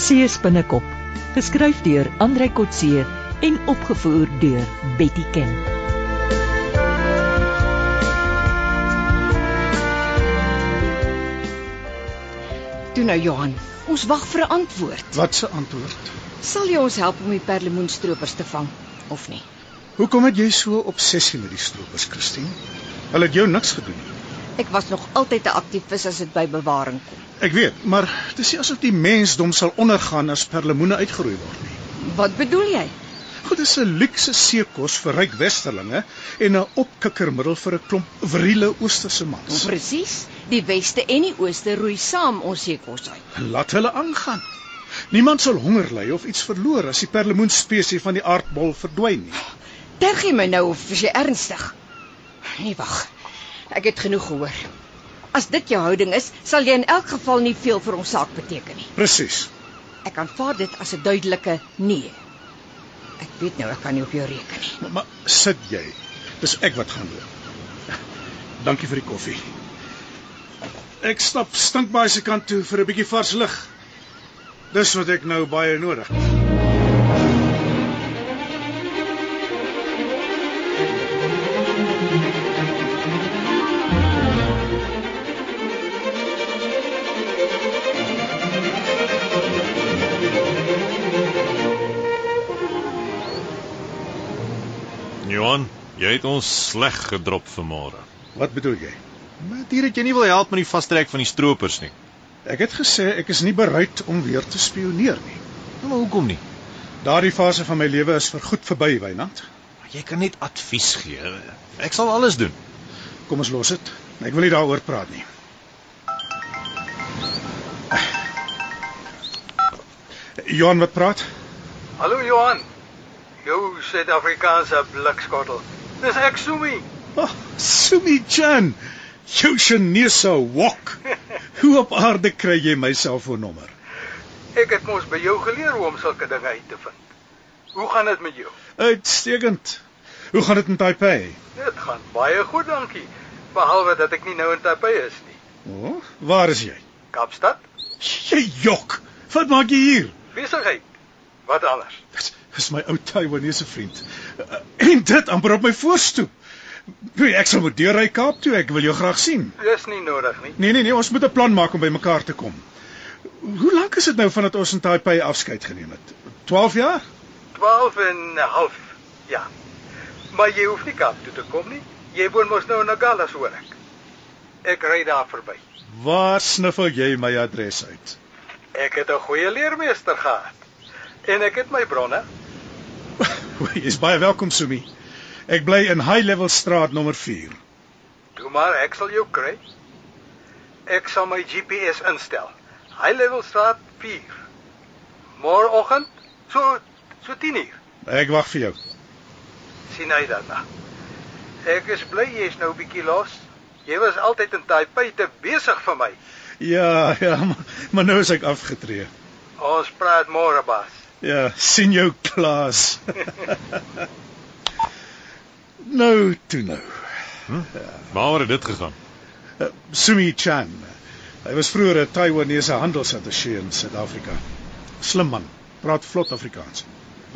Twee spinnekop, geskryf deur Andrei Kotse en opgevoer deur Betty Ken. Toe nou Johan, ons wag vir 'n antwoord. Wat se antwoord? Sal jy ons help om die perlemoenstroopers te vang of nie? Hoekom het jy so obsessie met die stroopers, Christine? Hulle het jou niks gedoen nie. Ek was nog altyd 'n aktivis as dit by bewaring kom. Ek weet, maar dit is nie asof die mensdom sal ondergaan as perlemoene uitgeroei word nie. Wat bedoel jy? Goed, dis 'n luukse seekos vir ryk westerlinge en 'n opkikkermiddel vir 'n klomp virile oosterse mans. Presies, die weste en die ooste roei saam ons seekos uit. Laat hulle aangaan. Niemand sal honger ly of iets verloor as die perlemoen spesies van die aardbol verdwyn nie. Terg jy my nou of is jy ernstig? Nee, wag. Ek het genoeg gehoor. As dit jou houding is, sal jy in elk geval nie veel vir ons saak beteken nie. Presies. Ek aanvaar dit as 'n duidelike nee. Ek weet nou ek kan nie op jou reken nie. Maar, maar sit jy. Dis ek wat gaan doen. Dankie vir die koffie. Ek stap stinkbaai se kant toe vir 'n bietjie vars lug. Dis wat ek nou baie nodig het. Johan, jy het ons sleg gedrop vanmôre. Wat bedoel jy? Met hier het jy nie wil help met die vastrek van die stroopers nie. Ek het gesê ek is nie bereid om weer te spioneer nie. Nou, maar hoekom nie? Daardie fase van my lewe is vir goed verby, Wynand. Jy kan net advies gee. Ek sal alles doen. Kom ons los dit. Ek wil nie daaroor praat nie. Johan wat praat? Hallo Johan. Jou Suid-Afrikaanse blikskottel. Dis ek Sumi. Oh, Sumi Chan, jou Chinese wok. Hoe op aarde kry jy my selfoonnommer? Ek het mos by jou geleer hoe om sulke dinge uit te vind. Hoe gaan dit met jou? Uitstekend. Hoe gaan dit in Taipei? Dit gaan baie goed, dankie. Behalwe dat ek nie nou in Taipei is nie. O, oh, waar is jy? Kaapstad? Jy jok. Wat maak jy hier? Besigheid. Wat anders? Dis is my ou Taiwanese vriend. Uh, En dit amper op my voorstoep. Wie, Ek sal moet deurry Kaap toe. Ek wil jou graag sien. Dis nie nodig nie. Nee nee nee, ons moet 'n plan maak om by mekaar te kom. Hoe lank is dit nou vandat ons in Taipei afskeid geneem het? 12 jaar? 12 en 'n half. Ja. Maar jy hoef nie Kaap toe te kom nie. Jy woon mos nou in Nagala se hoor ek. Ek ry daar verby. Waar sniffel jy my adres uit? Ek het 'n goeie leermeester gehad. En ek het my bronne. Jy is baie welkom, Sumi. Ek bly in High Level Straat nommer 4. Doe maar, ek sal jou kry. Ek sal my GPS instel. High Level Straat 4. Môreoggend so so 10uur Ek wag vir jou. sien hy daarna. Ek is bly jy's nou bietjie los. Jy was altyd in Taipei te besig vir my. Ja, ja, maar, maar nou is ek afgetree. Ons praat môre, baas. Ja, sien jou klas. nou toe nou. Waar het dit gegaan? Uh, Sumi Chan. Hy was vroeër 'n Taiwanese handelsattaché in Suid-Afrika. Slim man, praat vlot Afrikaans.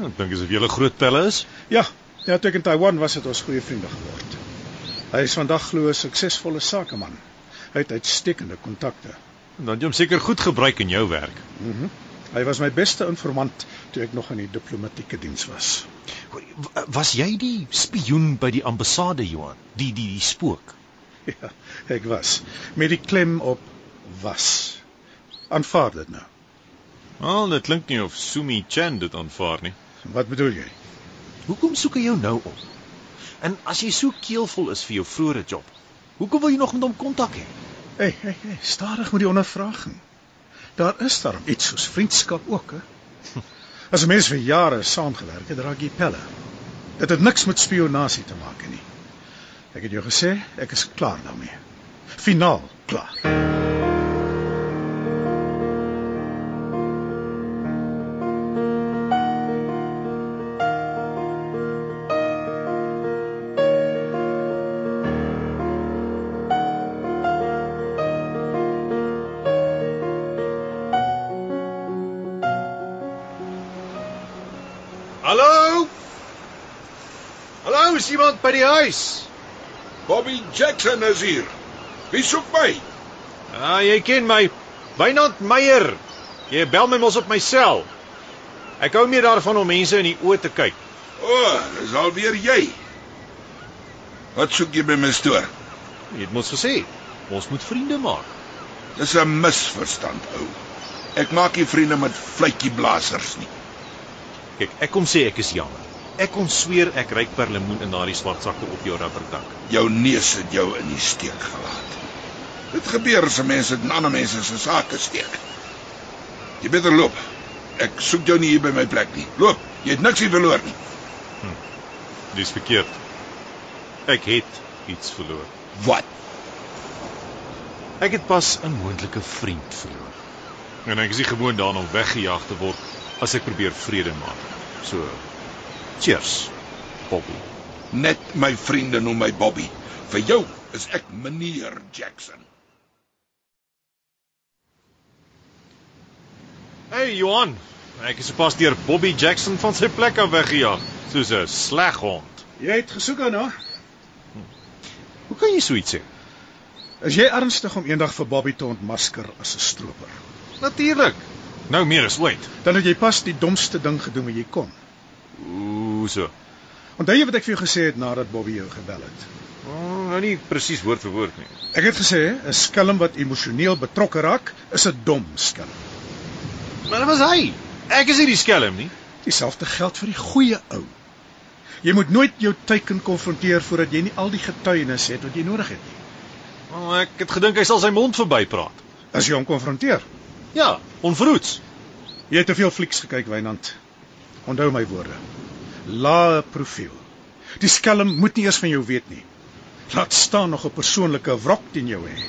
Ek dink asof jy 'n groot pelle is. Ja, ja, toe ek in Taiwan was het ons goeie vriende geword. Hy is vandag glo 'n suksesvolle sakeman. Hy het uitstekende kontakte. Dan het jy hom seker goed gebruik in jou werk. Mhm. Hy was my beste informant toe ek nog in die diplomatieke diens was. Was jy die spioen by die ambassade, Johan? Die die die spook. Ja, ek was met die klem op was. Aanvaar dit nou. Wel, dit klink nie of Sumi Chan dit aanvaar nie. Wat bedoel jy? Hoekom soek hy jou nou op? En as jy so keelvol is vir jou vroeëre job, hoekom wil jy nog met hom kontak hê? Hey, hey, hey, stadig met die ondervraging. Daar is daarom iets soos vriendskap ook, hè? As 'n mens vir jare saamgewerk het, raak jy pelle. Dit het niks met spionasie te maak nie. Ek het jou gesê, ek is klaar daarmee. Finaal klaar. Hallo? Hallo, is iemand by die huis? Bobby Jackson is hier. Wie soek my? Ah, jy ken my. Wynand Meyer. Jy bel my mos op my sel. Ek hou nie daarvan om mense in die oë te kyk. O, oh, dis alweer jy. Wat soek jy by my stoor? Jy het mos gesê, ons moet vriende maak. Dis 'n misverstand, ou. Ek maak nie vriende met fluitjieblassers nie. Kyk, ek kom sê ek is jammer. Ek kom sweer ek ryk perlemoen in daardie swart sakke op jou rubberdak. Jou neus het jou in die steek gelaat. Dit gebeur as mense in ander mense se sake steek. Jy beter loop. Ek soek jou nie hier by my plek nie. Loop. Jy het niks hier verloor nie. Dis verkeerd. Ek het iets verloor. Wat? Ek het pas 'n moontlike vriend verloor. En ek is nie gewoond daaraan om weggejaag te word as ek probeer vrede maak. So cheers, Bobby. Net my vriende noem my Bobby. Vir jou is ek meneer Jackson. Hey Johan, ek is sopas deur Bobby Jackson van sy plek af weggejaag, soos 'n sleg hond. Jy het gesoek daarna. Hoe kan jy so iets sê? Is jy ernstig om eendag vir Bobby te ontmasker as 'n stroper? Natuurlik. Nou meer as ooit. Dan het jy pas die domste ding gedoen wat jy kon. Ooh, so. Onthou jy wat ek vir jou gesê het nadat Bobby jou gebel het? Oh, nou nie presies woord vir woord nie. Ek het gesê 'n skelm wat emosioneel betrokke raak, is 'n dom skelm. Maar dit was hy. Ek is nie die skelm nie. Dieselfde geld vir die goeie ou. Jy moet nooit jou teiken konfronteer voordat jy nie al die getuienis het wat jy nodig het nie. Oh, ek het gedink hy sal sy mond verbypraat. As jy hom konfronteer, Ja, onverhoeds. Jy het te veel flieks gekyk, Wynand. Onthou my woorde. Lae profiel. Die skelm moet nie eers van jou weet nie. Laat staan nog 'n persoonlike wrok teen jou hê.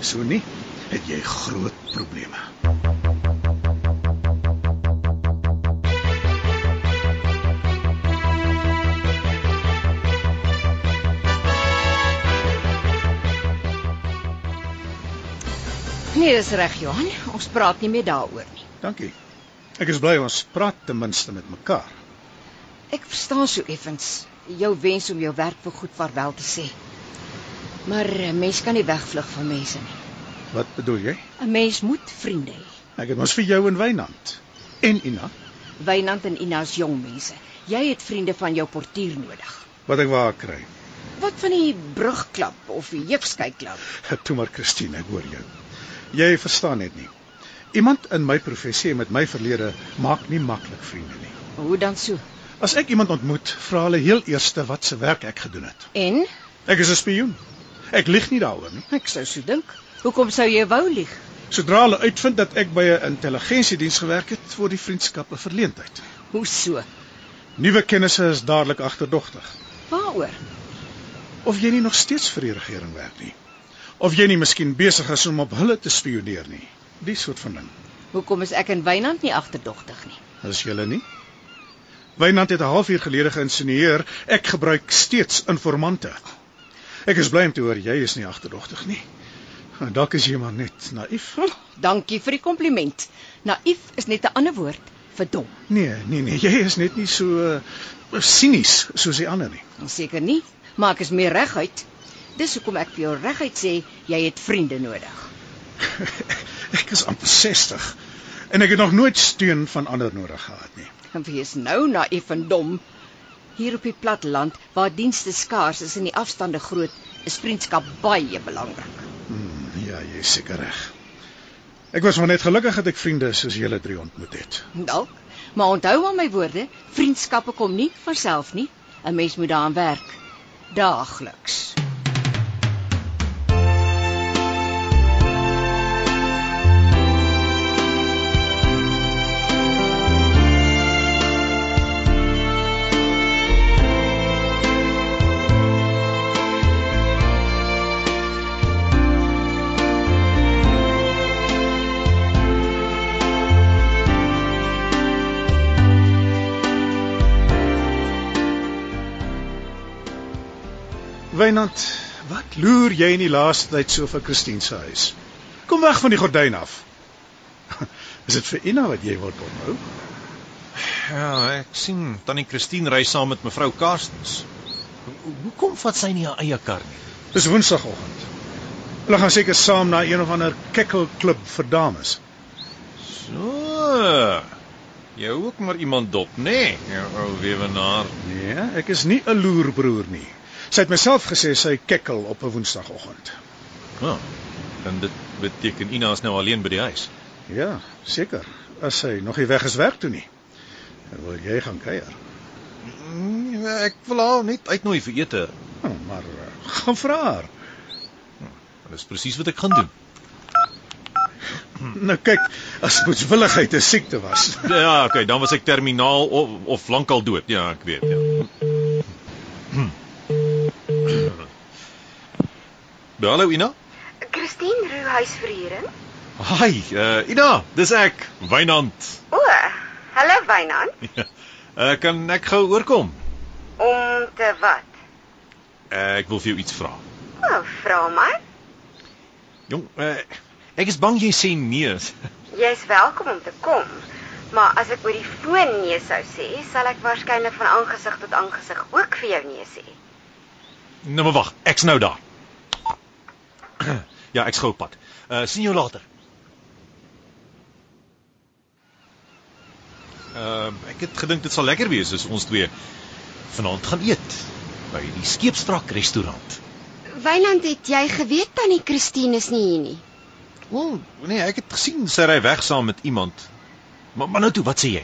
So nie, het jy groot probleme. Nee, dis reg, Johan. Ons praat nie meer daaroor nie. Dankie. Ek is bly ons praat ten minste met mekaar. Ek verstaan so effens jou wens om jou werk vir goed vaarwel te sê. Maar 'n mens kan nie wegvlug van mense nie. Wat bedoel jy? 'n Mens moet vriende hê. Ek het mos vir jou en Wynand en Ina Wynand en Ina is jong mense. Jy het vriende van jou portier nodig. wat ek waar kry. Wat van die brugklap of die jeugskykklap? Toe maar Christine, ek hoor jou. Jy verstaan net nie. Iemand in my professie en met my verlede maak nie maklik vriende nie. Hoe dan so? As ek iemand ontmoet, vra hulle heel eers wat se werk ek gedoen het. En Ek is 'n spioen. Ek lieg nie daaroor nie. ek sou so dink. Hoekom sou jy wou lieg? Sodra hulle uitvind dat ek by 'n intelligensiediens gewerk het, word die vriendskap 'n verleentheid. Hoe so? Nuwe kennisse is dadelik agterdogtig. Waaroor? Of jy nie nog steeds vir die regering werk nie. Of jy nie miskien besig is om op hulle te spioneer nie. Die soort van ding. Hoekom is ek en Wynand nie agterdogtig nie? Is julle nie? Wynand het 'n halfuur gelede geïnsinueer ek gebruik steeds informante. Ek is bly om te hoor jy is nie agterdogtig nie. En Dalk is jy maar net naïef. Dankie vir die kompliment. Naïef is net 'n ander woord vir dom. Nee, nee, nee, jy is net nie so uh, sinies soos die ander nie. Seker nie, maar ek is meer reguit. Dis hoekom ek vir jou reguit sê jy het vriende nodig. ek is amper 60 en ek het nog nooit steun van ander nodig gehad nie. En wees nou naïef en dom. Hier op die platteland waar dienste skaars is en die afstande groot, is vriendskap baie belangrik. Hmm, ja, jy is seker reg. Ek was maar net gelukkig dat ek vriende soos julle drie ontmoet het. Dalk, maar onthou aan my woorde, vriendskappe kom nie van self nie. 'n Mens moet daaraan werk daagliks. Wynand, wat loer jy in die laaste tyd so vir Christine se huis? Kom weg van die gordyn af. Is dit vir Ina wat jy wil onthou? Ja, ek sien tannie Christine ry saam met mevrou Karstens. Ho- Hoekom vat sy nie haar eie kar nie? Dis Woensdagoggend. Hulle gaan seker saam na een of ander kekkelklub vir dames. So. Jy hou ook maar iemand dop, nê? Nee, jou ou weewenaar. Nee, ek is nie 'n loerbroer nie. Sy het myself gesê sy kekkel op 'n Woensdagoggend. Ja. En dit beteken Ina is nou alleen by die huis. Ja, seker. As sy nog nie weg is werk toe nie. Dan wil jy gaan kuier. Mm, Ek wil haar net uitnooi vir ete. Oh, maar eh, gaan vra haar. Dit is presies wat ek gaan doen. Nou kyk, as moedswilligheid 'n siekte was. Ja, okay, dan was ek terminaal of, of lankal dood. Ja, ek weet, ja. Hm. Ja, Hallo Ina. Christine Roo huisverhuuring. Hi, uh, Ina, dis ek, Wynand. O, hallo Wynand. Uh, kan ek gou oorkom? Om te wat? Uh, ek wil vir jou iets vra. O, vra maar. Jong, uh, ek is bang jy sê nee. Jy's welkom om te kom. Maar as ek oor die foon nee sou sê, sal ek waarskynlik van aangesig tot aangesig ook vir jou nee sê. Nou maar wag, ek's nou daar. ja, ek's gou op pad. Uh sien jou later. Ehm uh, ek het gedink dit sal lekker wees as ons twee vanaand gaan eet by die Skeepstrak restaurant. Wynand, het jy geweet tannie Christine is nie hier nie? Wel, nee, ek het gesien sy ry weg saam met iemand. Maar maar nou toe, wat sê jy?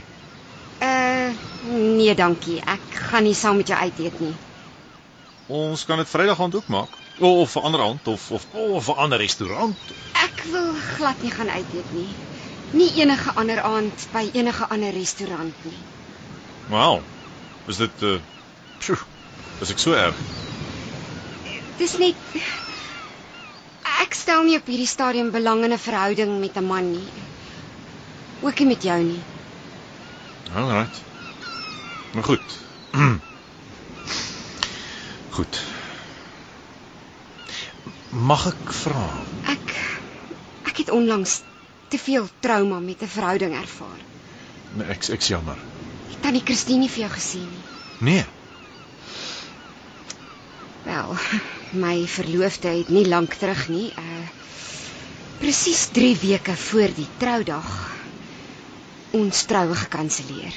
Uh, nee, dankie. Ek gaan nie saam met jou uit eet nie. Ons kan dit Vrydag aand ook maak o, of 'n ander aand of of of 'n ander restaurant. Ek wil glad nie gaan uit eet nie. Nie enige ander aand by enige ander restaurant nie. Wow. Is dit uh pjoe, is ek so erg? Dis net ek stel nie op hierdie stadium belang in 'n verhouding met 'n man nie. Ook nie met jou nie. Alright. Maar goed. goed. Mag ek vra? Ek ek het onlangs te veel trauma met 'n verhouding ervaar. Nee, ek ek's jammer. Het tannie Christine nie vir jou gesien nie. Nee. Wel, my verloofde het nie lank terug nie. Uh presies 3 weke voor die troudag ons troue gekanselleer.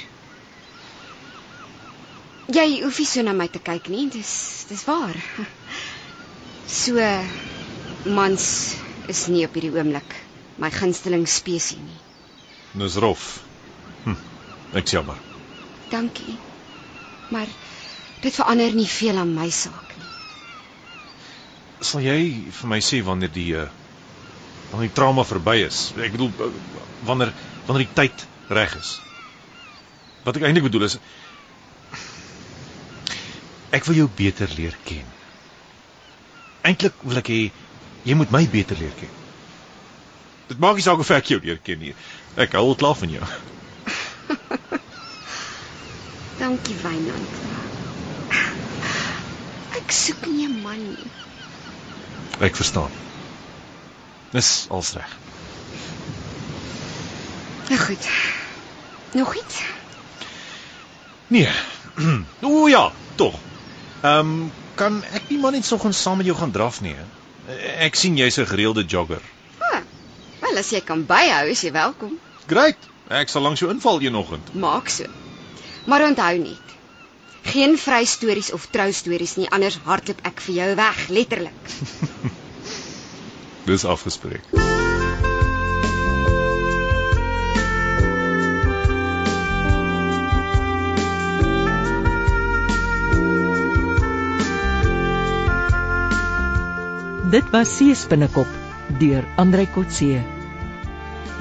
Jy hoef nie so na my te kyk nie, dis dis waar. So mans is nie op hierdie oomblik my gunsteling spesies nie. Dis rof. Hm. Ek's jammer. Dankie. Maar dit verander nie veel aan my saak nie. Sal jy vir my sê wanneer die eh, wanneer die trauma verby is? Ek bedoel eh, wanneer wanneer die tyd reg is. Wat ek eintlik bedoel is ek wil jou beter leer ken. Eintlik wil ek hê jy moet my beter leer ken. Dit maak nie saak of ek jou leer ken nie. Ek hou al klaar van jou. Dankie, Wynand. Ek soek nie 'n man nie. Ek verstaan. Dis als reg. Nou goed. Nog iets? Nee. o ja, tog. Ehm um, kan ek nie maar net soggens saam met jou gaan draf nie? hè? Ek sien jy's 'n gereelde jogger. Ah, wel as jy kan byhou, is jy welkom. Great. Ek sal langs jou inval eenoggend. Maak so. Maar onthou net. Geen vry stories of trou stories nie, anders hardloop ek vir jou weg, letterlik. Dis afgespreek. Dit was Sees binnekop deur Andrei Kotse.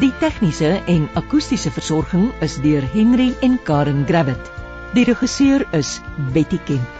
Die tegniese en akoestiese versorging is deur Henry en Karen Gravett. Die regisseur is Betty Kemp.